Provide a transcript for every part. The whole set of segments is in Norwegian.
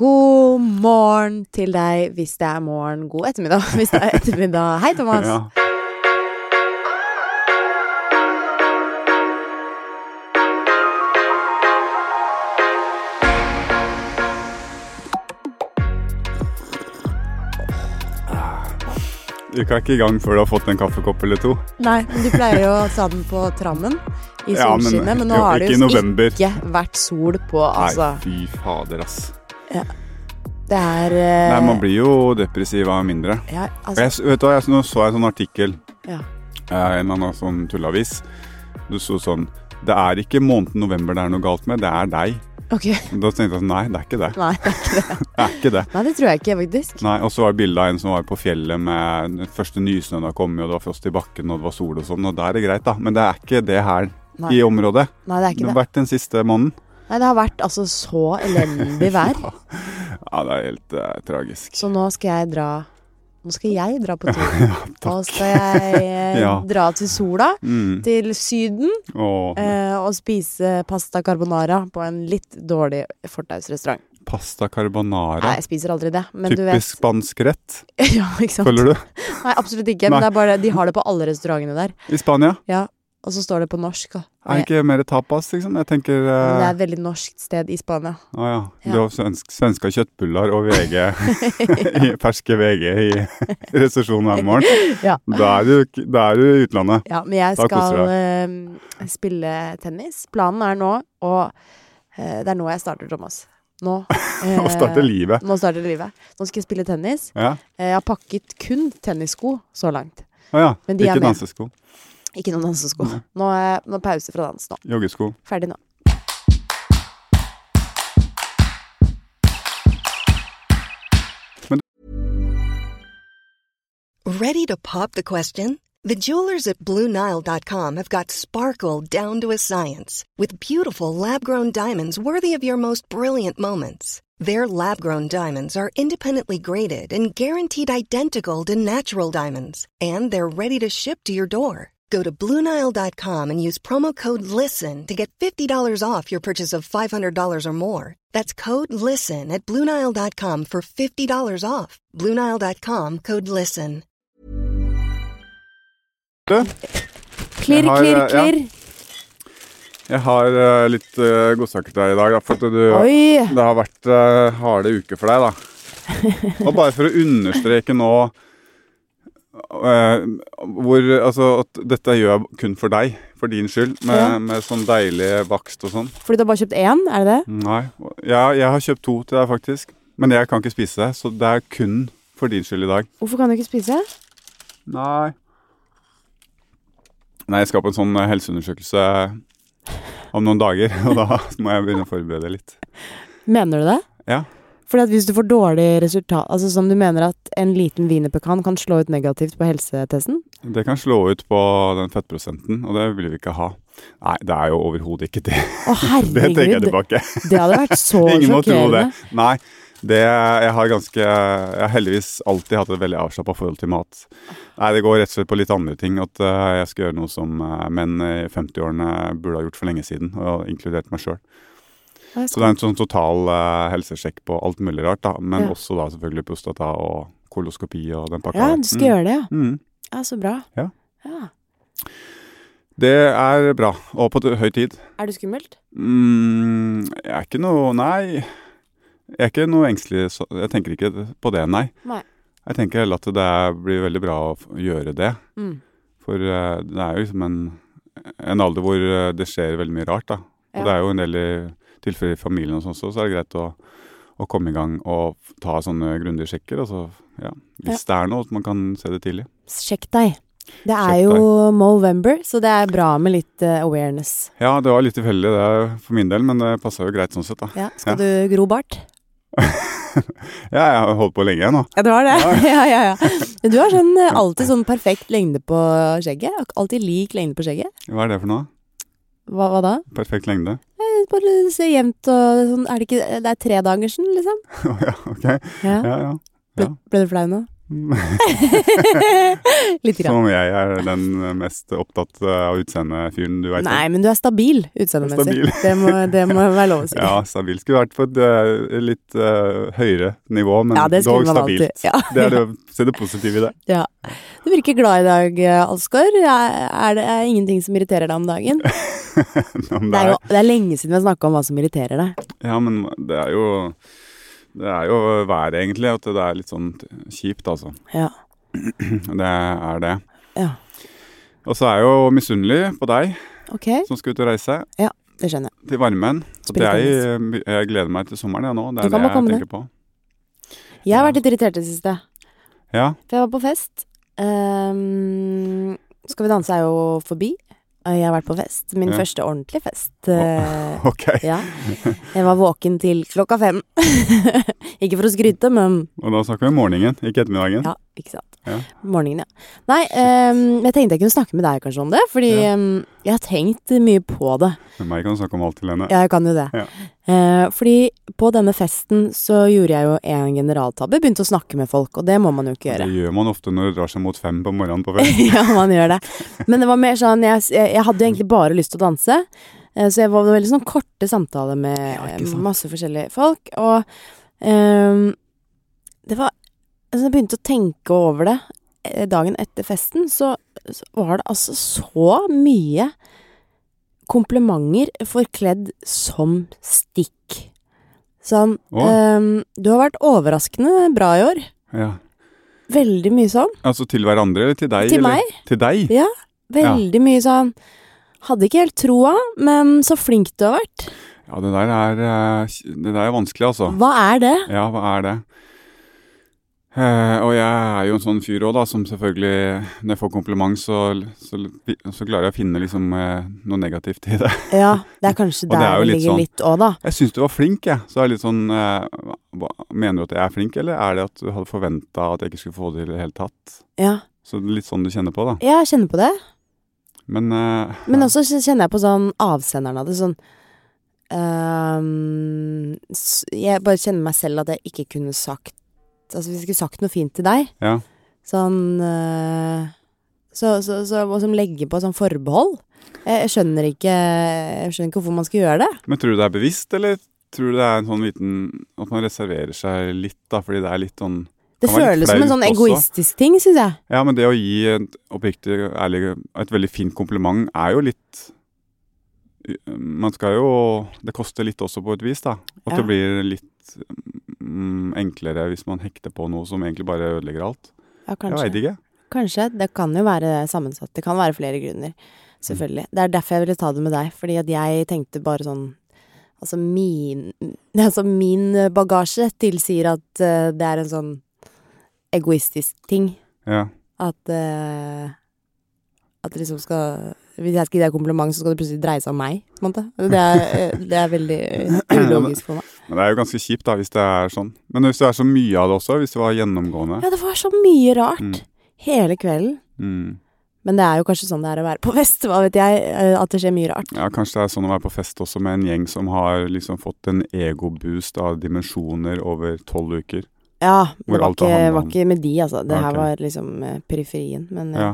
God morgen til deg hvis det er morgen. God ettermiddag hvis det er ettermiddag. Hei, Thomas. Ja. Uka er ikke i gang før du har fått en kaffekopp eller to. Nei, men du pleier jo å ta den på trammen i Ja, men- solskinnet, men, nå jo, har det ikke i jo november. ikke vært sol på, altså. Nei, fy fader, ass. Det er eh, Nei, Man blir jo depressiv av mindre. ja, Og altså, Jeg, s- vet du hva, jeg, s- Nå så jeg en sånn artikkel, ja. eh, en eller annen sånn tullavis. Det sto sånn Det er ikke måneden november det er noe galt med, det er deg. Ok. Da tenkte jeg sånn Nei, det er ikke det. Nei, det er ikke det. Det er ikke det. Nei, det tror jeg ikke, faktisk. Nei, Og så var det bilde av en som var på fjellet med den første nysnøen har kommet, og det var frost i bakken, og det var sol og sånn, og da er det greit, da. Men det er ikke det her Nei. i området. Nei, det er Det ikke har det. vært den siste måneden. Nei, det har vært altså så elendig vær, Ja, det er helt eh, tragisk. så nå skal jeg dra Nå skal jeg dra på tur. Nå Takk. skal jeg eh, Ja. dra til sola, Mm. til Syden. Og eh, og spise pasta carbonara på en litt dårlig fortausrestaurant. pasta Nei, carbonara. jeg spiser aldri det, men du vet Typisk spansk rett, Ja, ikke sant? føler du? Nei, absolutt ikke, men Nei. det er bare, de har det på alle restaurantene der. I Spania. Ja, og så står det på norsk. da. Er det ikke mer tapas, liksom? Jeg tenker Men det eh, er et veldig norsk sted i Spania. Å ja. Ja. Du har svensk, svenska kjøttbullar og VG, i- ferske VG i resesjonen hver morgen. Ja. Da er du ikke- da er du i utlandet. Ja, men jeg Da koser skal eh, spille tennis. Planen er nå, og eh, det er nå jeg starter, Thomas. Nå. Eh. Og starter livet. Nå starter livet. Nå skal jeg spille tennis. Ja. Eh, jeg har pakket kun tennissko så langt. Å ja. Men de er Ikke med. dansesko. Ikke noen dansesko. Nå er jeg- nå er pause fra dans nå. Joggesko. Ferdig nå. Ready to pop the question? The jewelers at BlueNile.com have got sparkle down to a science with beautiful lab grown diamonds worthy of your most brilliant moments. Their lab grown diamonds are independently graded and guaranteed identical to natural diamonds, and they're ready to ship to your door. Go to BlueNile.com and use promo code LISTEN to get $50 off your purchase of $500 or more. That's code LISTEN at BlueNile.com for $50 off. BlueNile.com code LISTEN. Du, Klirr, Jeg har, klirr, eh, ja. klirr. jeg har eh, litt uh, godsaker til deg i dag. Da, for at du, Oi! Det har vært eh, harde uker for deg, da. Og bare for å understreke nå eh, hvor, altså, at dette gjør jeg kun for deg, for din skyld, med, Ja. med sånn deilig bakst og sånn. Fordi du har bare kjøpt én, er det det? Nei. Ja, jeg har kjøpt to til deg, faktisk. Men jeg kan ikke spise det, så det er kun for din skyld i dag. Hvorfor kan du ikke spise? Nei. Nei, jeg skal på en sånn eh, helseundersøkelse eh, om noen dager, og da må jeg begynne å forberede litt. Mener du det? Ja. Fordi at hvis du får dårlig resultat Altså som du mener at en liten wienerpekan kan slå ut negativt på helsetesten? Det kan slå ut på den fettprosenten, og det vil vi ikke ha. Nei, det er jo overhodet ikke det. Å Det herregud! tenker jeg tilbake. det hadde vært så Ingen må tro det. sjokkerende. Nei, det, jeg har ganske Jeg har heldigvis alltid hatt et veldig avslappa forhold til mat. Nei, det går rett og slett på litt andre ting. At eh, jeg skal gjøre noe som eh, menn i 50-årene burde ha gjort for lenge siden, og inkludert meg sjøl. Nei, Så det er en sånn total eh, helsesjekk på alt mulig rart, da. Men Ja. også da selvfølgelig prostata og koloskopi og den pakka. Ja, der. du skal gjøre det, ja. Mm. Mm. ja. Så bra. Ja. Det er bra, og på t- høy tid. Er du skummelt? Mm, jeg er ikke noe Nei. Jeg er ikke noe engstelig. så- Jeg tenker ikke på det, nei. Nei. Jeg tenker heller at det er- blir veldig bra å f- gjøre det. Mm. For eh, det er jo liksom en, en alder hvor eh, det skjer veldig mye rart, da. Ja. Og det er jo en del i tilfeller i familien og sånn også, så er det greit å, å komme i gang og f- ta sånne grundige sjekker. Og så, ja. Hvis det er noe, at man kan se det tidlig. Sjekk deg. Det er Sjekk jo Movember, så det er bra med litt eh, awareness. Ja, det var litt tilfeldig det for min del, men det passa jo greit sånn sett, da. Ja, skal du gro bart? Ja, jeg har holdt på lenge jeg, nå. Ja, du har det? Ja, ja, ja. Men Du har sånn, eh, alltid sånn perfekt lengde på skjegget. Ak- Alltid lik lengde på skjegget. Hva er det for noe? Hva, hva da? Perfekt lengde? Eh, Bare se jevnt og eh, sånn Er det ikke Det er tredagersen, liksom? Å ja, ok. Ja. Ja, ja. Ble, ble du flau nå? Litt grann. Som om jeg er den mest opptatt eh, av utseendefyren du veit Nei, men du er stabil utseendemessig. Stabil. Det, må- det må være lov å si. Ja, stabil skulle vært på et eh, litt eh, høyere nivå, men Ja, det skulle dog man alltid- stabilt. ja. Det er det, se det positive i det. Ja. Du virker glad i dag, eh, Alsgaard. Er er det er ingenting som irriterer deg om dagen? Det Ja, men er jo det er lenge siden vi har snakka om hva som irriterer deg. Ja, men det er jo det er jo været, egentlig. At det er litt sånn kjipt, altså. Ja. Det er det. Mhm. ja. Og så er jeg jo misunnelig på deg Ok, som skal ut og reise. ja, det skjønner jeg. Til varmen. Så Spille jeg, eh, jeg gleder meg til sommeren, jeg nå. Det Du er kan det bare jeg komme tenker på. Jeg har vært litt irritert i det siste. Ja. For jeg var på fest. Ehm, skal vi danse er jo forbi. Eh, Jeg har vært på fest. Min Ja. første ordentlige fest. Eh, Ok. ja. Jeg var våken til klokka fem. Ikke for å skryte, men Og da snakker vi om morgenen, ikke ettermiddagen. ja, ikke sant. Ja. Morgenen, ja. Nei, ehm, jeg tenkte jeg kunne snakke med deg kanskje om det, fordi Ja. ehm, jeg har tenkt mye på det. Med meg kan du snakke om alt, Helene. Ja, jeg kan jo det. Ja. Eh, fordi på denne festen så gjorde jeg jo en generaltabbe. Begynte å snakke med folk, og det må man jo ikke gjøre. Det gjør man ofte når det drar seg mot fem på morgenen på fest. ja, man gjør det. Men det var mer sånn Jeg, jeg hadde jo egentlig bare lyst til å danse. eh, Så jeg var det var veldig sånn korte samtaler med ikke sant. eh, masse forskjellige folk. Og ehm, det var altså Jeg begynte å tenke over det eh, dagen etter festen, så, så var det altså så mye komplimenter forkledd som stikk. Sånn Å. ehm, Du har vært overraskende bra i år. Ja. Veldig mye sånn. Altså til hverandre eller til deg? Til eller? meg? Til deg? Ja, veldig mye sånn Hadde ikke helt troa, men så flink du har vært. Ja, det der er, eh, det der er vanskelig, altså. Hva er det? Ja, hva er det? Eh, og jeg er jo en sånn fyr òg, da, som selvfølgelig Når jeg får kompliment, så, så, så klarer jeg å finne liksom eh, noe negativt i det. Ja, det er kanskje Og der det det, er jo litt ligger sånn- litt òg, da. Jeg syns du var flink, jeg. Så er det litt sånn eh, hva, Mener du at jeg er flink, eller er det at du hadde forventa at jeg ikke skulle få det i det hele tatt? Ja, Så det er litt sånn du kjenner på, da. jeg kjenner på det. Men, eh, Men også kj- kjenner jeg på sånn avsenderen av det, sånn ehm, s- Jeg bare kjenner meg selv at jeg ikke kunne sagt Altså, hvis jeg skulle sagt noe fint til deg, ja. sånn eh, så, så, så, Og som legger på sånn forbehold. Jeg, jeg skjønner ikke Jeg skjønner ikke hvorfor man skal gjøre det. Men tror du det er bevisst, eller tror du det er en sånn liten At man reserverer seg litt, da, fordi det er litt sånn Det kan være litt føles som en flaut sånn også. egoistisk ting, syns jeg. Ja, men det å gi et oppriktig, ærlig, et veldig fint kompliment er jo litt Man skal jo Det koster litt også på et vis, da. At Ja. det blir litt mm, enklere hvis man hekter på noe som egentlig bare ødelegger alt. Ja, Jeg veit kanskje. ikke. kanskje. Det kan jo være sammensatt. Det kan være flere grunner, selvfølgelig. Det er derfor jeg ville ta det med deg, fordi at jeg tenkte bare sånn Altså min, altså min bagasje tilsier at eh, det er en sånn egoistisk ting. Ja. At eh, At det liksom skal Hvis jeg skal gi deg kompliment, så skal det plutselig dreie seg om meg. På en måte. Det, er, eh, det er veldig eh, ulogisk for meg. Men det er jo ganske kjipt da, hvis det er sånn. Men hvis det er så mye av det også, hvis det var gjennomgående Ja, det var så mye rart. Mm. Hele kvelden. mm. Men det er jo kanskje sånn det er å være på fest, hva vet jeg, eh, at det skjer mye rart. Ja, Kanskje det er sånn å være på fest også med en gjeng som har liksom fått en egoboost av dimensjoner over tolv uker. Ja, det Hvor var alt det ikke, handler var om. ikke med de, altså. Det Ja, her ok. var liksom eh, periferien, men eh, Ja.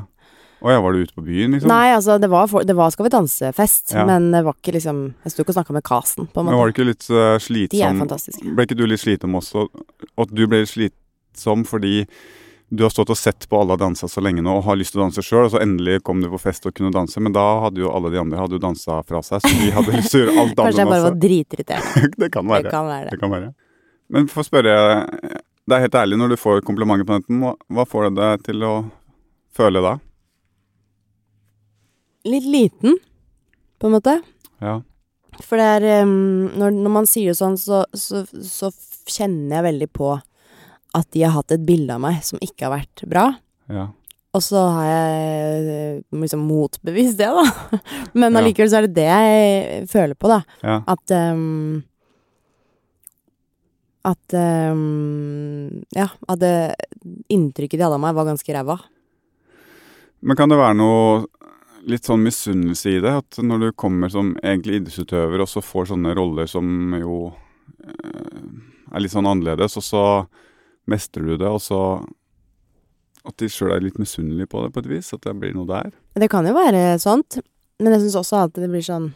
Å ja, var du ute på byen, liksom? Nei, altså, det var, for, det var Skal vi danse-fest, Ja. men det var ikke liksom Jeg sto ikke og snakka med Kasen, på en Men var måte. det ikke litt uh, De er slitsom fantastiske. Ble ikke du litt slitsom også? At du ble litt slitsom fordi du har stått og sett på alle har dansa så lenge nå og har lyst til å danse sjøl, og så endelig kom du på fest og kunne danse, men da hadde jo alle de andre hadde jo dansa fra seg, så de hadde lyst til å gjøre alt Kanskje jeg annet bare også. var dritirritert. Det kan Det være. kan være det. Det kan være. Men for å spørre eh, Det er helt ærlig, når du får komplimenter på netten, hva- hva får det deg til å føle da? Litt liten, på en måte. Ja. For det er em, når, når man sier det sånn, så, så, så kjenner jeg veldig på at de har hatt et bilde av meg som ikke har vært bra. ja. Og så har jeg eh, liksom motbevist det, da. Men Ja. allikevel så er det det jeg føler på, da. ja. At ehm, At ehm, Ja, at det inntrykket de hadde av meg, var ganske ræva. Men kan det være noe litt sånn misunnelse i det? At når du kommer som egentlig idrettsutøver, og så får sånne roller som jo eh, er litt sånn annerledes, og så mestrer du det, og så At de sjøl er litt misunnelige på det, på et vis. At det blir noe der. Det kan jo være sånt, men jeg syns også at det blir sånn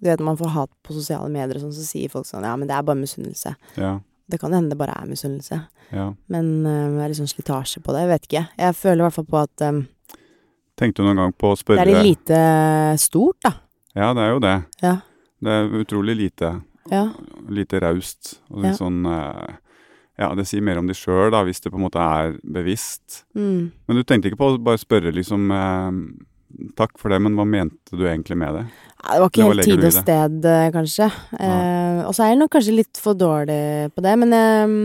Du vet når man får hat på sosiale medier og sånn, så sier folk sånn Ja, men det er bare misunnelse. Ja, Det kan hende det bare er misunnelse, ja. men øh, det er litt sånn slitasje på det. Jeg vet ikke. Jeg føler i hvert fall på at øhm, Tenkte du noen gang på å det spørre er litt lite eh, stort, da. Ja, det er jo det. Ja. Det er utrolig lite. Ja. Lite raust. Og litt Ja. sånn eh, Ja, det sier mer om de sjøl, da, hvis det på en måte er bevisst. Mm. Men du tenkte ikke på å bare spørre liksom eh, Takk for det, men hva mente du egentlig med det? Ja, det var Men ikke hva helt tid legger du i og det? sted, eh, kanskje. Eh, og så er jeg nok kanskje litt for dårlig på det, men ehm,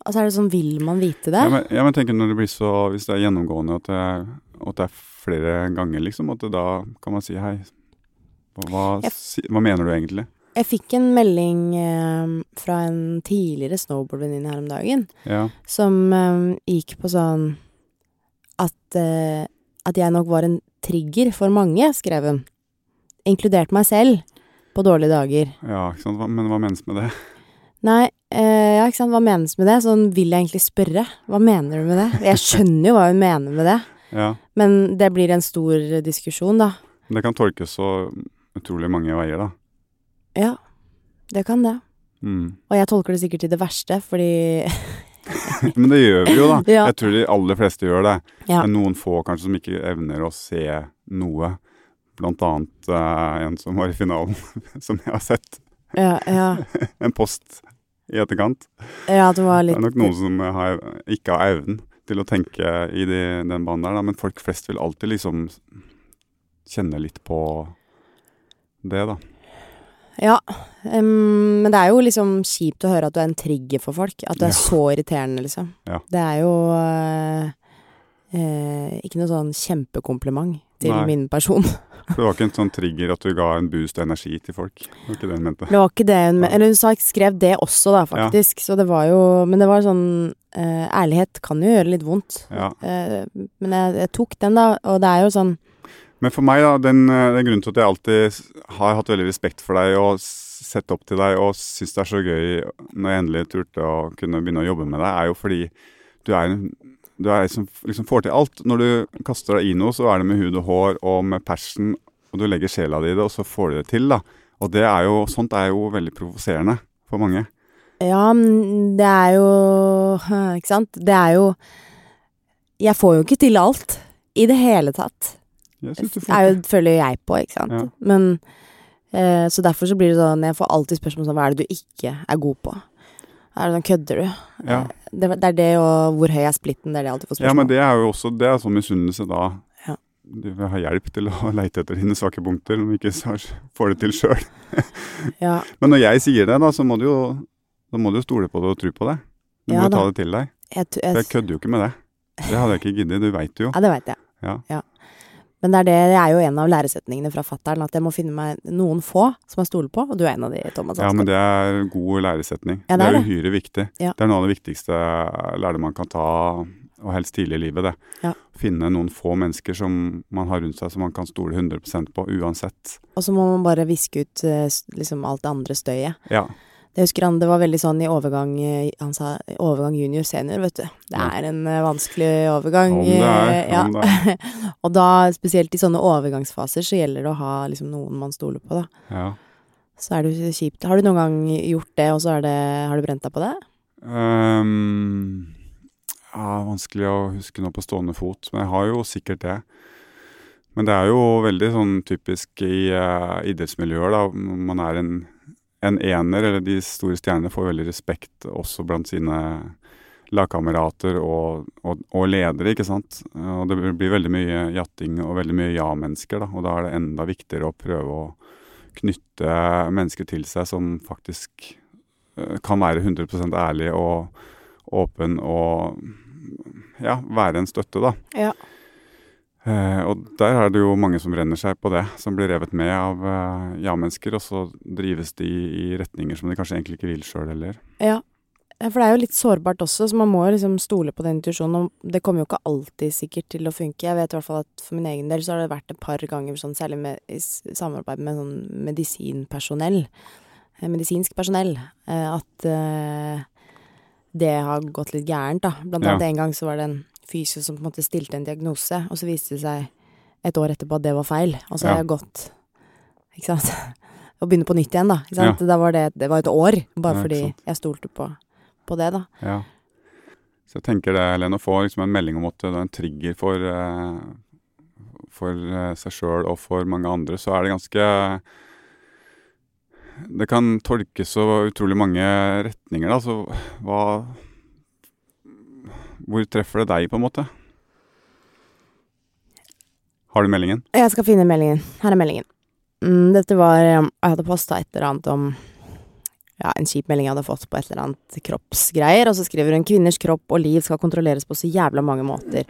Altså er det sånn, vil man vite det? Ja, men, ja, men tenker når det blir så Hvis det er gjennomgående at det, at det er flere ganger, liksom, at det da kan man si hei. Hva, Jeg- si, hva mener du egentlig? Jeg fikk en melding ehm, fra en tidligere snowboardvenninne her om dagen, Ja. som ehm, gikk på sånn at, eh, at jeg nok var en trigger for mange, skrev hun. Inkludert meg selv, på dårlige dager. ja ikke sant? Hva, men hva menes med det? Nei, eh, ja, ikke sant, hva menes med det? Sånn vil jeg egentlig spørre. Hva mener du med det? Jeg skjønner jo hva hun mener med det, Ja. men det blir en stor diskusjon, da. Det kan tolkes så utrolig mange veier, da. Ja, det kan det. Mm. Og jeg tolker det sikkert til det verste, fordi Men det gjør vi jo, da. Ja. Jeg tror de aller fleste gjør det. Ja. Men noen få kanskje som ikke evner å se noe. Blant annet eh, en som var i finalen, som jeg har sett. Ja, ja. En post i etterkant. ja at hun var Det litt er nok noen som har, ikke har evnen til å tenke i de, den banen der, da. men folk flest vil alltid liksom kjenne litt på det, da. Ja, em, men det er jo liksom kjipt å høre at du er en trigger for folk. At du er Ja. så irriterende, liksom. Ja. Det er jo eh, eh, ikke noe sånn kjempekompliment til Nei. min person. For det var ikke en sånn trigger at du ga en boost av energi til folk. Det var ikke det hun mente. Det var ikke det hun men- Nei. Eller hun sa, skrev det også, da, Ja. faktisk. Så det var jo Men det var sånn eh, Ærlighet kan jo gjøre litt vondt. Ja. Eh, men jeg, jeg tok den, da. Og det er jo sånn Men for meg, da, den, eh, den grunnen til at jeg alltid s- har hatt veldig respekt for deg og s- sett opp til deg og syns det er så gøy når jeg endelig turte å kunne begynne å jobbe med deg, er jo fordi du er en du er en som f- liksom får til alt. Når du kaster deg i noe, så er det med hud og hår og med passion, og du legger sjela di i det, og så får du det til, da. Og det er jo, sånt er jo veldig provoserende for mange. Ja, men det er jo Ikke sant? Det er jo Jeg får jo ikke til alt i det hele tatt. Jeg synes du Det får er jo, til. føler jeg på, ikke sant. Ja. Men eh, Så derfor så blir det sånn Jeg får alltid spørsmål sånn Hva er det du ikke er god på? Er det sånn Kødder du? Ja. Det, det er det og hvor høy er splitten, det er det jeg alltid får spørsmål ja, men det er jo også det er sånn misunnelse da. Ja. Du vil ha hjelp til å leite etter dine svake punkter, om ikke så får det til sjøl. om. Ja, Men når jeg sier det, da, så må du jo, da må du jo stole på det og tro på det. Du Ja må da. jo ta det til deg. jeg, t- For jeg, jeg kødder jo ikke med det. Det hadde jeg ikke giddet, du veit det jo. ja, det veit jeg. Ja. Men det er, det, det er jo en av læresetningene fra fattern, at jeg må finne meg noen få som jeg stoler på, og du er en av de, Thomas. Ja, men det er god læresetning. Ja, det det er er det. uhyre viktig. Ja. Det er noe av det viktigste lærdom man kan ta, og helst tidlig i livet, det. Ja. Finne noen få mennesker som man har rundt seg, som man kan stole 100 på uansett. Og så må man bare viske ut eh, s- liksom alt det andre støyet. Ja. Jeg husker han, det var veldig sånn i overgang eh, Han sa overgang junior senior, vet du. Det Ja. er en eh, vanskelig overgang. Om det er. eh, ja. Om det er. Og da, spesielt i sånne overgangsfaser, så gjelder det å ha liksom noen man stoler på, da. Ja. Så er det jo kjipt. Har du noen gang gjort det, og så er det, har du brent deg på det? Ehm, ja, vanskelig å huske noe på stående fot, men jeg har jo sikkert det. Men det er jo veldig sånn typisk i eh, idrettsmiljøer, da. Når man er en, en ener, eller de store stjernene får veldig respekt også blant sine lagkamerater og, og, og ledere, ikke sant. Og det blir veldig mye jatting og veldig mye ja-mennesker, da. Og da er det enda viktigere å prøve å knytte mennesker til seg som faktisk eh, kan være 100 ærlig og åpen og ja, være en støtte, da. Ja. Eh, og der er det jo mange som renner seg på det, som blir revet med av eh, ja-mennesker, og så drives de i retninger som de kanskje egentlig ikke vil sjøl heller. Ja. Ja, For det er jo litt sårbart også, så man må jo liksom stole på den intuisjonen. Og det kommer jo ikke alltid sikkert til å funke. Jeg vet i hvert fall at for min egen del så har det vært et par ganger, sånn, særlig med, i s- samarbeid med sånn medisinpersonell, eh, medisinsk personell, eh, at eh, det har gått litt gærent, da. Blant Ja. annet en gang så var det en fysio som på en måte stilte en diagnose, og så viste det seg et år etterpå at det var feil, og så Ja. har jeg gått Ikke sant? Å begynne på nytt igjen, da. Ikke sant? Da var det, det var et år, bare Ja, ikke fordi sant. jeg stolte på, på det, da. Ja. Så jeg tenker det, Helene, å få liksom en melding om at det er en trigger for, eh, for eh, seg sjøl og for mange andre, så er det ganske Det kan tolkes så utrolig mange retninger, da. Så hva Hvor treffer det deg, på en måte? Har du meldingen? Jeg skal finne meldingen. Her er meldingen. Mm, dette var um, Jeg hadde posta et eller annet om ja, en kjip melding jeg hadde fått på et eller annet kroppsgreier, og så skriver hun 'Kvinners kropp og liv skal kontrolleres på så jævla mange måter'.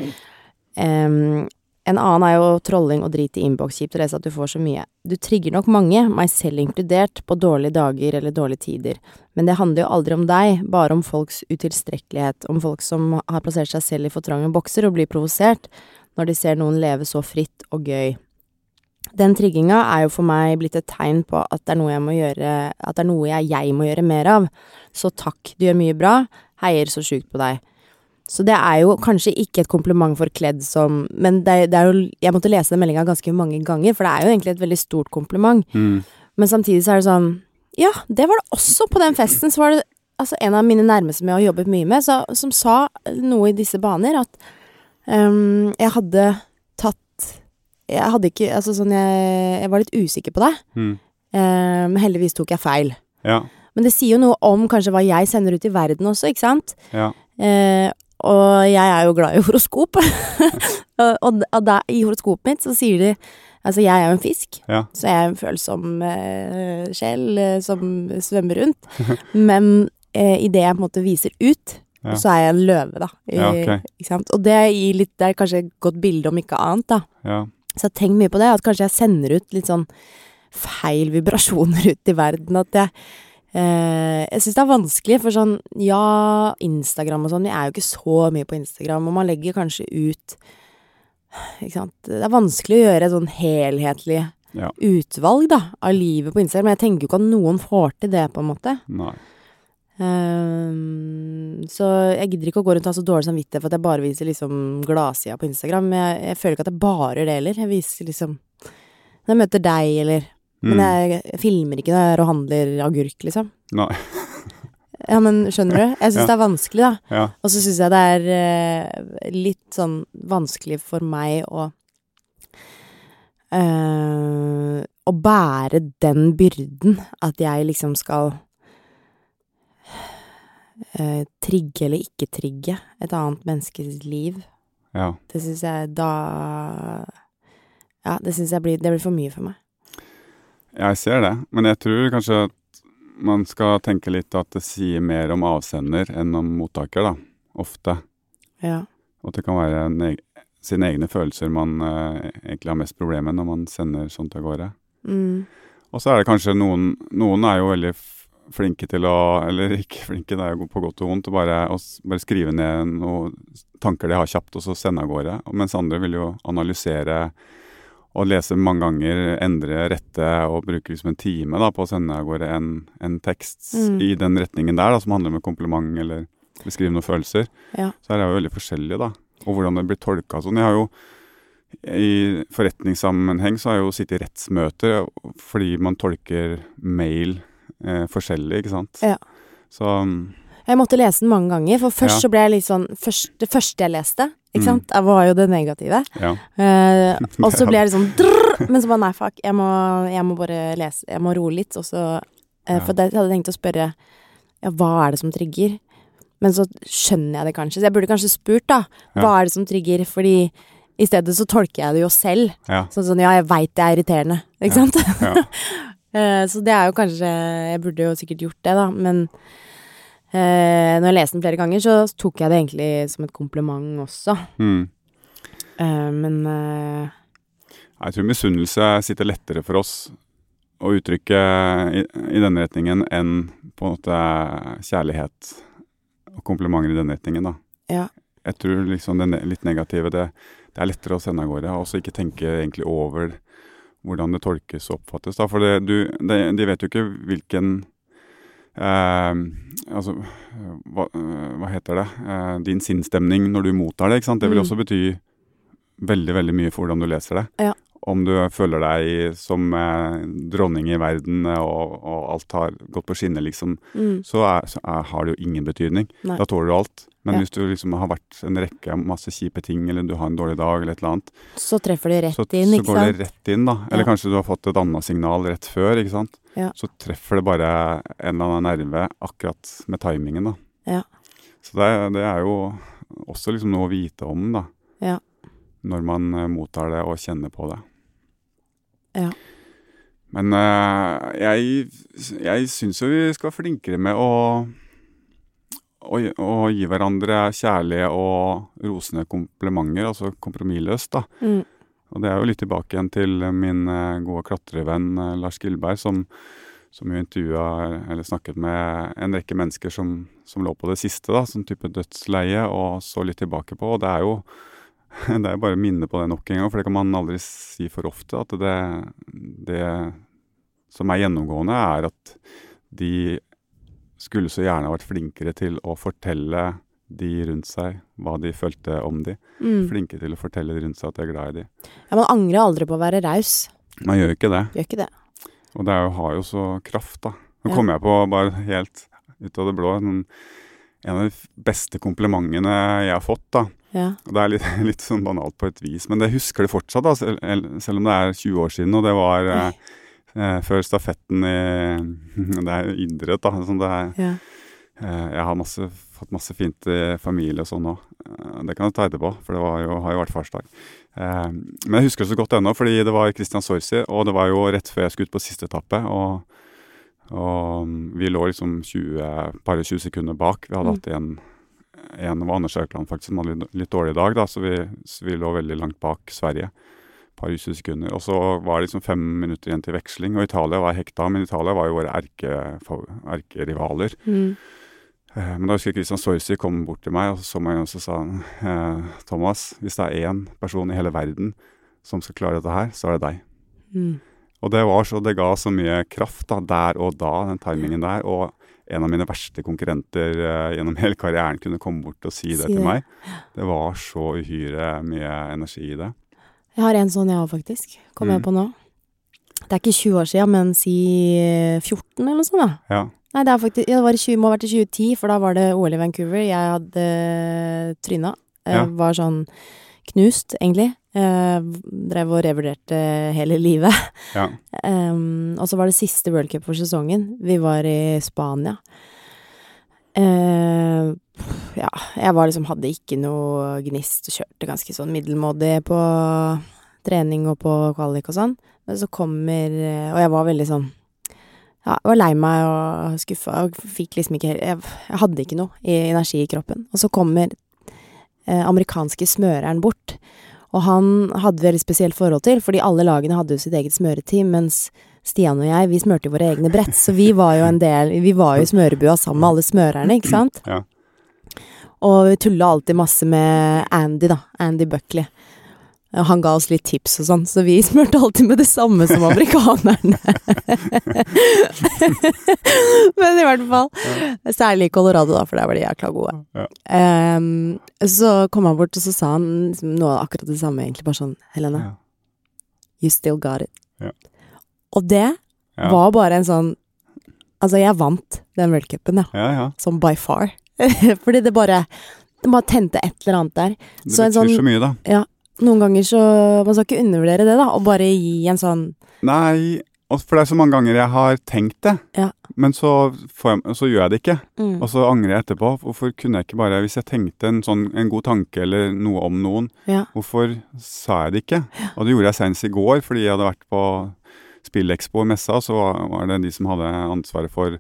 Em, en annen er jo trolling og drit i innboks. Kjipt å lese at du får så mye. Du trigger nok mange, meg selv inkludert, på dårlige dager eller dårlige tider. Men det handler jo aldri om deg, bare om folks utilstrekkelighet. Om folk som har plassert seg selv i for trange bokser og blir provosert når de ser noen leve så fritt og gøy. Den trigginga er jo for meg blitt et tegn på at det er noe jeg må gjøre, at det er noe jeg, jeg må gjøre mer av. Så takk, du gjør mye bra. Heier så sjukt på deg. Så det er jo kanskje ikke et kompliment forkledd som Men det, er- det er jo Jeg måtte lese den meldinga ganske mange ganger, for det er jo egentlig et veldig stort kompliment. Men samtidig så er det sånn Ja, det var det også på den festen. Så var det altså en av mine nærmeste som jeg har jobbet mye med, så, som sa noe i disse baner, at ehm, jeg hadde tatt Jeg hadde ikke Altså sånn, jeg, jeg var litt usikker på det. Mm. Eh, Men heldigvis tok jeg feil. Ja. Men det sier jo noe om kanskje hva jeg sender ut i verden også, ikke sant? Ja. Eh, og jeg er jo glad i horoskop. og og da, i horoskopet mitt så sier de Altså, jeg er jo en fisk, Ja. så jeg er en følsom eh, sjel eh, som svømmer rundt. Men eh, idet jeg på en måte viser ut, Ja. så er jeg en løve, da. I, Ja, ok. ikke sant? Og det, gir litt, det er kanskje et godt bilde, om ikke annet, da. ja. Så jeg har tenkt mye på det, at kanskje jeg sender ut litt sånn feil vibrasjoner ut i verden. At jeg eh, Jeg syns det er vanskelig, for sånn Ja, Instagram og sånn, vi er jo ikke så mye på Instagram, og man legger kanskje ut Ikke sant. Det er vanskelig å gjøre et sånn helhetlig Ja. utvalg, da, av livet på Instagram. Men jeg tenker jo ikke at noen får til det, på en måte. Nei. Ehm, så jeg gidder ikke å gå rundt og ha så dårlig samvittighet for at jeg bare viser liksom gladsida på Instagram. Men jeg, jeg føler ikke at jeg bare gjør det heller. Jeg viser liksom når jeg møter deg, eller Men Mm. jeg, jeg filmer ikke når jeg er og handler agurk, liksom. Nei. Ja, men skjønner du? Jeg syns Ja. det er vanskelig, da. Ja. Og så syns jeg det er eh, litt sånn vanskelig for meg å eh, Å bære den byrden at jeg liksom skal eh, trigge eller ikke trigge et annet menneskes liv. Ja. Det syns jeg da Ja, det syns jeg blir, det blir for mye for meg. Jeg ser det, men jeg tror kanskje at man skal tenke litt at det sier mer om avsender enn om mottaker, da. Ofte. Ja. Og at det kan være en eg sine egne følelser man eh, egentlig har mest problemer med når man sender sånt av gårde. Mm. Og så er det kanskje noen Noen er jo veldig f- flinke til å Eller ikke flinke, det er jo på godt og vondt å bare, å s- bare skrive ned noen tanker de har kjapt, og så sende av gårde. Og Mens andre vil jo analysere og lese mange ganger, endre, rette og bruke liksom en time da, på å sende av gårde en, en tekst Mm. i den retningen der, da, som handler om en kompliment eller beskrive noen følelser. Ja. Så her er jo veldig forskjellig, da. Og hvordan det blir tolka sånn. Jeg har jo i forretningssammenheng så har jeg jo sittet i rettsmøter fordi man tolker mail eh, forskjellig, ikke sant. Ja. Så mm, Jeg måtte lese den mange ganger, for først Ja. så ble jeg litt sånn først, Det første jeg leste, Mm. ikke sant, var jo det negative. ja. Eh, og så Ja. ble jeg litt sånn drrr, Men så bare nei, fuck, jeg må, jeg må bare lese Jeg må roe litt, og så eh, Ja. For det hadde jeg tenkt å spørre Ja, hva er det som trigger? Men så skjønner jeg det kanskje, så jeg burde kanskje spurt, da. Ja. Hva er det som trigger? Fordi i stedet så tolker jeg det jo selv. Ja. Sånn sånn ja, jeg veit det er irriterende, ikke Ja. sant? ja. Eh, Så det er jo kanskje Jeg burde jo sikkert gjort det, da, men eh, når jeg leste den flere ganger, så tok jeg det egentlig som et kompliment også. Mm. Eh, men eh, Jeg tror misunnelse sitter lettere for oss å uttrykke i, i denne retningen enn på en måte kjærlighet og komplimenter i denne retningen, da. Ja. Jeg tror liksom det ne- litt negative, det, det er lettere å sende av gårde. Og også ikke tenke egentlig over hvordan det tolkes og oppfattes, da. For det, du, det, de vet jo ikke hvilken eh, Altså, hva, eh, hva heter det? Eh, din sinnsstemning når du mottar det. ikke sant? Det vil Mm. også bety veldig, veldig mye for hvordan du leser det. Ja. Om du føler deg som eh, dronning i verden eh, og, og alt har gått på skinner, liksom, Mm. så, er, så er, har det jo ingen betydning. Nei. Da tåler du alt. Men Ja. hvis du liksom har vært en rekke masse kjipe ting, eller du har en dårlig dag, eller et eller annet, Så treffer de rett så, inn, så ikke går sant? det rett inn, da. Ja. Eller kanskje du har fått et annet signal rett før, ikke sant. Ja. Så treffer det bare en eller annen nerve akkurat med timingen, da. Ja. Så det, er- det er jo også liksom noe å vite om, da. Ja. Når man eh, mottar det og kjenner på det. Ja. Men eh, jeg, jeg syns jo vi skal være flinkere med å å, gi- å gi hverandre kjærlige og rosende komplimenter, altså kompromissløst, da. Mm. Og det er jo litt tilbake igjen til min eh, gode klatrevenn eh, Lars Gilberg, som, som jo intervjua eller snakket med en rekke mennesker som, som lå på det siste, da, som type dødsleie, og så litt tilbake på. Og det er jo det er jo bare å minne på det nok en gang, for det kan man aldri si for ofte. At det, det som er gjennomgående, er at de skulle så gjerne ha vært flinkere til å fortelle de rundt seg hva de følte om de. Mm. Flinke til å fortelle de rundt seg at de er glad i de. Ja, man angrer aldri på å være raus. Man gjør jo ikke det. Gjør ikke det. Og det er jo, har jo så kraft, da. Nå Ja. kom jeg på, bare helt ut av det blå, en, en av de f- beste komplimentene jeg har fått, da. Ja. Og Det er litt, litt sånn banalt på et vis, men jeg husker det fortsatt, da, selv, el- selv om det er 20 år siden. Og det var eh, eh, før stafetten i Det er jo idrett, da. Sånn det er, Ja. eh, jeg har masse, fått masse fint i familie og sånn òg. Eh, det kan jeg ta etterpå, for det var jo, har jo vært farsdag. Eh, men jeg husker det så godt ennå, fordi det var Christian Sorsi, og det var jo rett før jeg skulle ut på siste etappe. og og vi lå liksom 20, bare 20 sekunder bak. Vi hadde Mm. hatt en en var Anders Aukland, faktisk, som hadde litt- litt dårlig dag, da, så vi, så vi lå veldig langt bak Sverige. Et par 20 sekunder. Og så var det liksom fem minutter igjen til veksling, og Italia var hekta, men Italia var jo våre erkefa- erkerivaler. Mm. Eh, Men da husker jeg Christian Sorsi kom bort til meg, og så så meg og så sa han eh, Thomas, hvis det er én person i hele verden som skal klare dette her, så er det deg. Mm. Og det var så, det ga så mye kraft da, der og da, den timingen der. Og en av mine verste konkurrenter eh, gjennom hele karrieren kunne komme bort og si det Si til det. meg. Det var så uhyre mye energi i det. Jeg har en sånn jeg òg, faktisk. Kommer Mm. jeg på nå. Det er ikke 20 år sia, men si eh, 14 eller noe sånt, da. Ja, Nei, det, er faktisk, ja, det var i 20, må ha vært i 2010, for da var det OL i Vancouver. Jeg hadde eh, tryna. Eh, Ja. Var sånn knust, egentlig. Eh, drev og revurderte hele livet. ja. Em, og så var det siste World Cup for sesongen. Vi var i Spania. Eh, ja, jeg var liksom hadde ikke noe gnist og kjørte ganske sånn middelmådig på trening og på kvalik og sånn. Men så kommer eh, Og jeg var veldig sånn ja, jeg var lei meg og skuffa og fikk liksom ikke helt Jeg, jeg hadde ikke noe i, energi i kroppen. Og så kommer eh, amerikanske smøreren bort. Og han hadde vi et veldig spesielt forhold til, fordi alle lagene hadde jo sitt eget smøreteam, mens Stian og jeg, vi smørte jo våre egne brett, så vi var jo en del Vi var jo i smørebua sammen med alle smørerne, ikke sant? Ja. Og vi tulla alltid masse med Andy, da. Andy Buckley. Og han ga oss litt tips og sånn, så vi smurte alltid med det samme som amerikanerne. Men i hvert fall. Særlig i Colorado, da, for der var de jækla gode. Ja. Ehm, så kom han bort, og så sa han liksom, noe av akkurat det samme, egentlig. Bare sånn Helene, ja. you still got it. Ja. Og det Ja. var bare en sånn Altså, jeg vant den World Cupen, ja. ja, ja. Sånn by far. Fordi det bare Det bare tente et eller annet der. Det Så en betyr sånn- så mye, da. Noen ganger så Man skal ikke undervurdere det, da, og bare gi en sånn Nei, og for det er så mange ganger jeg har tenkt det, Ja. men så, får jeg, så gjør jeg det ikke. mm, Og så angrer jeg etterpå. Hvorfor kunne jeg ikke bare Hvis jeg tenkte en, sånn, en god tanke eller noe om noen, Ja. hvorfor sa jeg det ikke? Og det gjorde jeg senest i går, fordi jeg hadde vært på Spillekspo i messa, og så var var det de som hadde ansvaret for,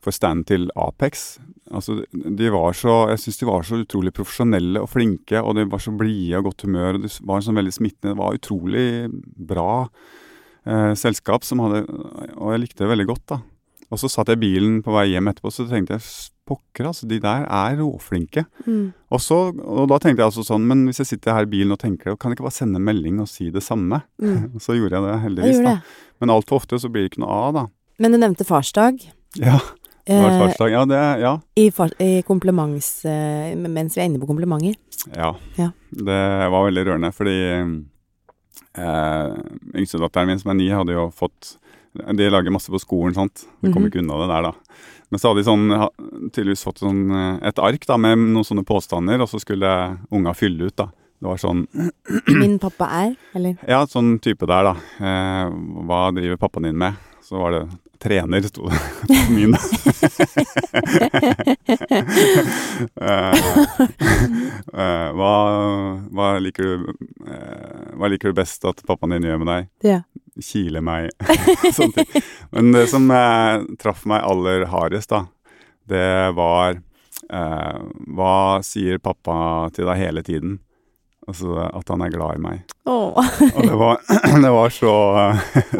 for standen til Apex. Altså, de var så, jeg syns de var så utrolig profesjonelle og flinke, og de var så blide og godt humør. og Det s- var sånn veldig smittende. Det var utrolig bra eh, selskap som hadde Og jeg likte det veldig godt, da. Og så satt jeg i bilen på vei hjem etterpå, så tenkte jeg "S- pokker, altså, de der er råflinke. mm. Og, så, og da tenkte jeg altså sånn, men hvis jeg sitter her i bilen og tenker det, kan jeg ikke bare sende en melding og si det samme? Mm. Og Så gjorde jeg det, Det heldigvis. gjorde da. det. Men altfor ofte så blir det ikke noe av, da. Men du nevnte farsdag. Ja, Det var eh, farsdag. Ja, det, ja. i, far, i kompliments... Eh, mens vi er inne på komplimenter. Ja. Ja. Det var veldig rørende, fordi eh, yngstedatteren min som er ni, hadde jo fått De lager masse på skolen, sant. De kom Mhm. ikke unna det der, da. Men så hadde de sånn, ha- tydeligvis fått sånn, eh, et ark da, med noen sånne påstander, og så skulle unga fylle ut, da. Det var sånn Min pappa er, eller Ja, sånn type der, da. Eh, hva driver pappaen din med? Så var det trener, sto det på min. eh, eh, hva, hva, liker du, eh, hva liker du best at pappaen din gjør med deg? Ja. Kile meg. sånne ting. Men det som eh, traff meg aller hardest, da, det var eh, Hva sier pappa til deg hele tiden? Altså at han er glad i meg. Åh, Og det var, det var så,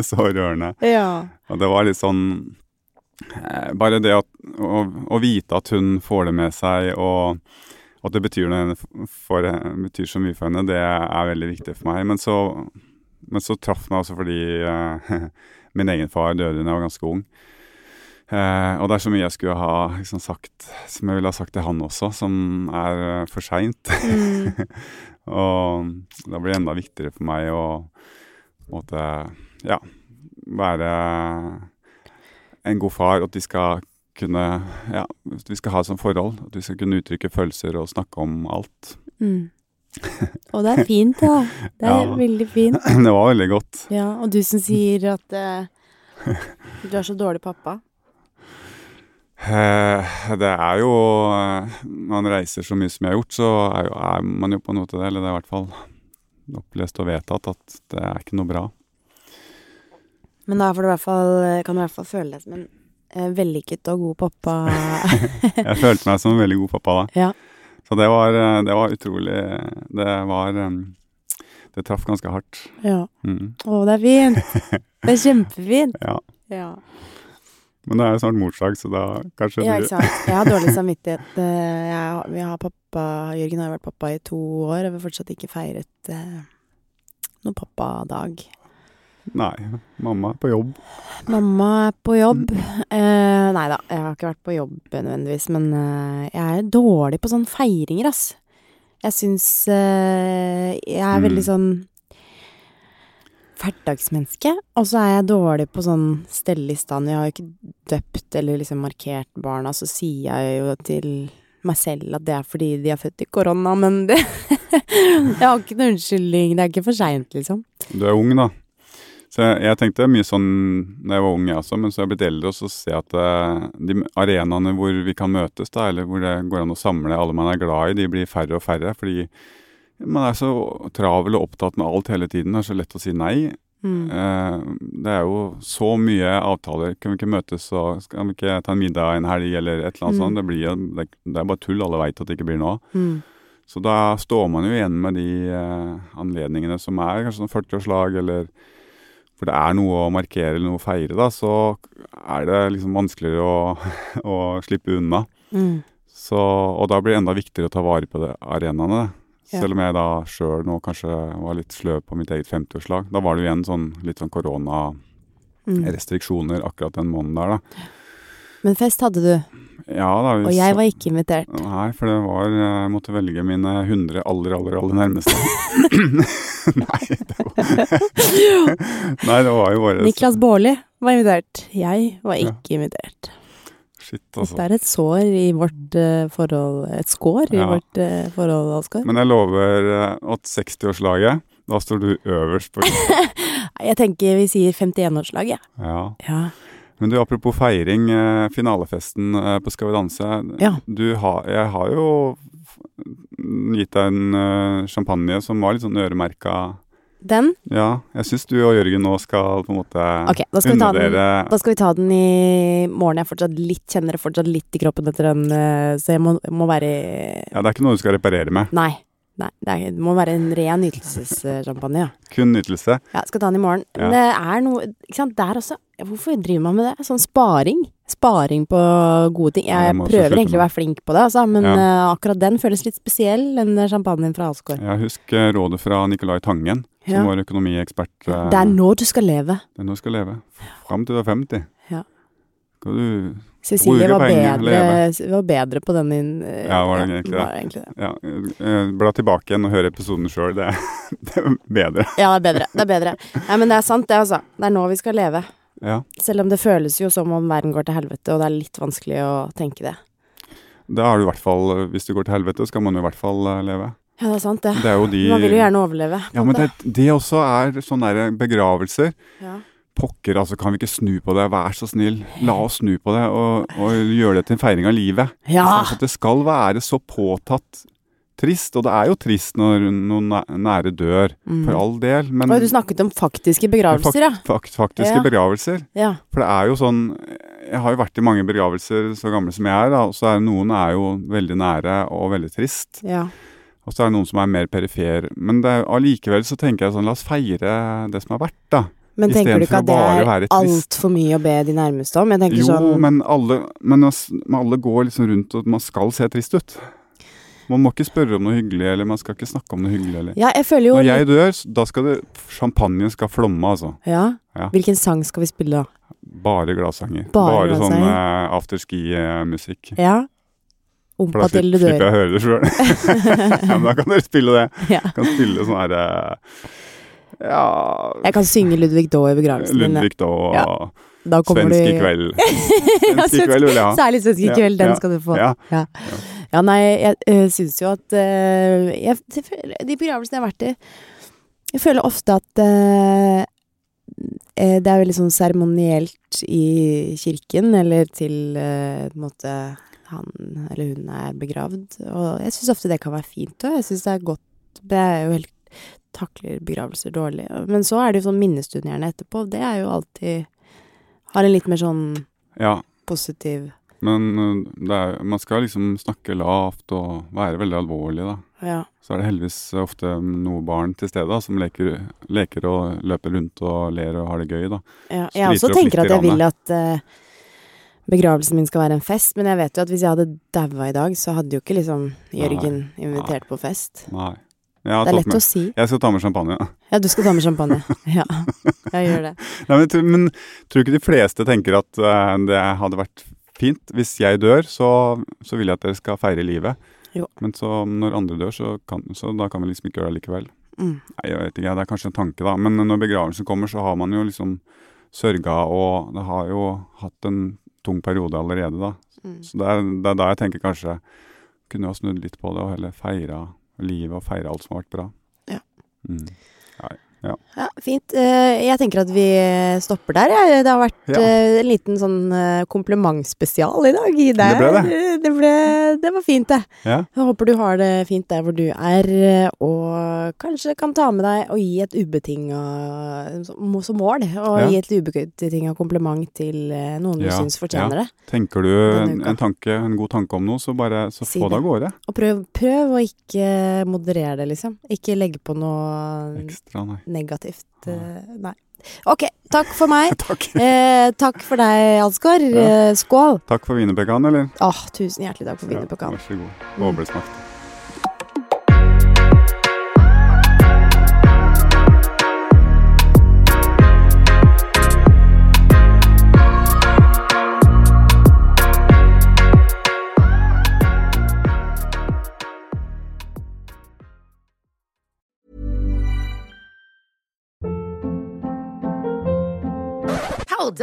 så rørende. ja. Og det var litt sånn eh, Bare det at, å, å vite at hun får det med seg, og at det betyr, noe for- for, betyr så mye for henne, det er veldig viktig for meg. Men så, men så traff meg også fordi eh, min egen far døde da jeg var ganske ung. Eh, og det er så mye jeg skulle ha liksom, sagt som jeg ville ha sagt til han også, som er eh, for seint. Mm. Og da blir det enda viktigere for meg å på en måte, ja, være en god far. At de skal kunne ja, at vi skal ha et sånt forhold. At vi skal kunne uttrykke følelser og snakke om alt. Mm. Og det er fint, da. Det er Ja. veldig fint. Det var veldig godt. Ja, og du som sier at eh, du er så dårlig pappa. Eh, Det er jo eh, Når man reiser så mye som jeg har gjort, så er, jo, er man jo på noe til det. Eller det er i hvert fall opplest og vedtatt at det er ikke noe bra. Men da får du i hvert fall, kan du i hvert fall føle deg som en eh, vellykket og god pappa. Jeg følte meg som en veldig god pappa da. Ja. Så det var, eh, det var utrolig Det var em, Det traff ganske hardt. ja. Mm. Å, det er fint. Det er kjempefint. Ja. Ja, Men det er jo snart morsdag, så da kanskje ja du ikke sant. Jeg har dårlig samvittighet. Eh, Jeg, har- vi har pappa, Jørgen har jo vært pappa i to år, og vi har fortsatt ikke feiret eh, noen pappadag. Nei, mamma er på jobb. Mamma er på jobb. Eh, nei da, jeg har ikke vært på jobb nødvendigvis, men eh, jeg er dårlig på sånne feiringer, ass. Jeg syns eh, Jeg er veldig Mm. sånn hverdagsmenneske, og så er jeg dårlig på sånn stelle i stand. Jeg har jo ikke døpt eller liksom markert barna, så sier jeg jo til meg selv at det er fordi de er født i korona, men det Jeg har ikke noen unnskyldning. Det er ikke for seint, liksom. Du er ung, da. Så jeg, jeg tenkte mye sånn da jeg var ung, jeg også, men så er jeg blitt eldre, og så ser jeg at eh, de arenaene hvor vi kan møtes, da, eller hvor det går an å samle alle man er glad i, de blir færre og færre. Fordi man er så travel og opptatt med alt hele tiden. Det er så lett å si nei. Mm. Eh, Det er jo så mye avtaler. Kan vi ikke møtes og kan vi ikke ta en middag en helg eller et eller annet Mm. sånt? Det, blir, jo- det, det er bare tull. Alle veit at det ikke blir noe av. Mm. Så da står man jo igjen med de eh, anledningene som er, kanskje sånn 40-årslag eller For det er noe å markere eller noe å feire, da. Så er det liksom vanskeligere å, å slippe unna. Mm. Så, og da blir det enda viktigere å ta vare på det, arenaene. da. Ja. Selv om jeg da sjøl nå kanskje var litt sløv på mitt eget 50-årslag. Da var det jo igjen sånn, litt sånn koronarestriksjoner Mm. akkurat den måneden der, da. Men fest hadde du. Ja, da vi Og jeg var ikke invitert. så- Nei, for det var Jeg måtte velge mine 100 aller, aller, aller nærmeste. Nei, det var Nei, det var jo bare Niklas Baarli var invitert. Jeg var Ja. ikke invitert. Shit, Dette altså. er et sår i vårt eh, forhold Et skår i Ja. vårt eh, forhold, Oskar. Men jeg lover eh, at 60-årslaget, da står du øverst på lista. Jeg tenker vi sier 51-årslag, jeg. Ja. Ja. Men du, apropos feiring, eh, finalefesten eh, på Skal vi danse. Ja. Du har, jeg har jo f- gitt deg en eh, champagne som var litt sånn øremerka. Den? Ja, jeg syns du og Jørgen nå skal på en måte Ok, da skal, vi ta unne den, dere da skal vi ta den i morgen. Jeg er fortsatt litt, kjenner det fortsatt litt i kroppen etter den, eh, så jeg må, jeg må være Ja, det er ikke noe du skal reparere med. Nei. Nei, det, er, det må være en ren nytelsessjampanje, ja. Kun nytelse. Ja, skal ta den i morgen. Men Ja. det er noe Ikke sant, der også Hvorfor driver man med det? Sånn sparing. Sparing på gode ting. Ja, Jeg det må jeg prøver slutte egentlig å med. være flink på det, altså, men Ja. eh, akkurat den føles litt spesiell, den der champagnen fra Alsgaard. Jeg husker eh, rådet fra Nicolai Tangen, som Ja. var økonomiekspert. eh, Det er nå du skal leve. Det er nå du skal leve. Fram til du er 50. Ja. Skal du Cecilie Bruke var penger, bedre, var bedre på den inn... eh, Ja, var det egentlig det? var egentlig det. ja, eh, bla tilbake igjen og høre episoden sjøl. Det, er- det er bedre. Ja, det er bedre. Det er bedre. Nei, men det er sant, det, altså. Det er nå vi skal leve. Ja. Selv om det føles jo som om verden går til helvete, og det er litt vanskelig å tenke det. Da har du i hvert fall Hvis det går til helvete, skal man jo i hvert fall eh, leve. Ja, det er sant, det. Det er jo de Man vil jo gjerne overleve. på Ja, en men måte. det, det også er sånne der eh, begravelser. ja. Pokker, altså, kan vi ikke snu på det? Vær så snill, la oss snu på det, og, og gjøre det til en feiring av livet. Ja. Altså, det skal være så påtatt trist, og det er jo trist når noen næ- nære dør, for all del, men Oi, du snakket om faktiske begravelser, ja. fakt, faktiske Ja. begravelser. ja. For det er jo sånn Jeg har jo vært i mange begravelser så gamle som jeg er, da, og så er det noen er jo veldig nære og veldig trist. Ja. Og så er det noen som er mer perifer. Men det er- allikevel så tenker jeg sånn, la oss feire det som har vært, da. Men I tenker du stedet for ikke å at det bare er være trist. altfor mye å be de nærmeste om? Jeg tenker Jo, sånn men, alle, men ass- men alle går liksom rundt og man skal se trist ut. Man må ikke spørre om noe hyggelig, eller man skal ikke snakke om noe hyggelig. Eller. Ja, jeg føler jo Når jeg dør, s- da skal det Champagnen skal flomme, altså. ja. Ja. Hvilken sang skal vi spille da? Bare gladsanger. Bare Bare, sånn gladsanger. eh, afterski-musikk. Ja. For da Ompa til slipper, du slipper dør. jeg å høre det sjøl. ja, men da kan dere spille det. Ja. Kan spille sånn herre Ja Jeg kan synge Ludvig Daae i begravelsen din. Ludvig, da. Og Ja, Da kommer Svensk i du- kveld. Ja, Svensk i kveld vil jeg ha. Særlig svensk i Ja, kveld, den ja, skal du få. ja. ja. Ja, nei, jeg uh, syns jo at eh, jeg, det føler- De begravelsene jeg har vært i Jeg føler ofte at eh, eh, det er veldig sånn seremonielt i kirken, eller til eh, på en måte han eller hun er begravd. Og jeg syns ofte det kan være fint, og jeg syns det er godt men Jeg er jo helt takler begravelser dårlig. Men så er det jo sånn minnestund gjerne etterpå. Det er jo alltid Har en litt mer sånn Ja, positiv men eh, det er, man skal liksom snakke lavt og være veldig alvorlig, da. Ja. Så er det heldigvis ofte noe barn til stede da, som leker, leker og løper rundt og ler og har det gøy, da. Ja, jeg Spriter også opp tenker litt at jeg i vil at eh, begravelsen min skal være en fest, men jeg vet jo at hvis jeg hadde daua i dag, så hadde jo ikke liksom Jørgen invitert på fest. Nei. Jeg, har Det er tatt lett å med. si. jeg skal ta med champagne. ja. Ja, du skal ta med champagne. Ja, jeg gjør det. Nei, men, jeg tror- men tror ikke de fleste tenker at eh, det hadde vært fint. Hvis jeg dør, så, så vil jeg at dere skal feire livet. Jo. Men så når andre dør, så, kan, så da kan vi liksom ikke gjøre det likevel. Mm. Nei, jeg vet ikke, det er kanskje en tanke da. Men når begravelsen kommer, så har man jo liksom sørga, og det har jo hatt en tung periode allerede da. Mm. Så det er, det er da jeg tenker kanskje kunne jeg ha snudd litt på det, og heller feira livet og feira alt som har vært bra. Ja. Mm. Ja, fint. Eh, jeg tenker at vi stopper der, jeg. Det har vært Ja. eh, en liten sånn eh, komplimentspesial i dag. i Der. ble det. Eh, Det, ble, det var fint, det. Ja. Jeg håper du har det fint der hvor du er, eh, og kanskje kan ta med deg og gi et ubetinga som som mål, og Ja. gi et ubetinga kompliment til eh, noen du Ja, syns fortjener det. Tenker du Denne en, uka. en tanke, en god tanke om noe, så bare så Si få det det. av gårde. Og prøv, prøv å ikke moderere det, liksom. Ikke legge på noe Ekstra, nei. negativt. eh, Nei. Ok, takk for meg. Takk. Eh, takk for deg, Ansgar. Eh, skål. Takk for wienerpekan, eller? Åh, tusen hjertelig takk for Ja, vinnerpokalen. vær så god. Boblesmak. Hold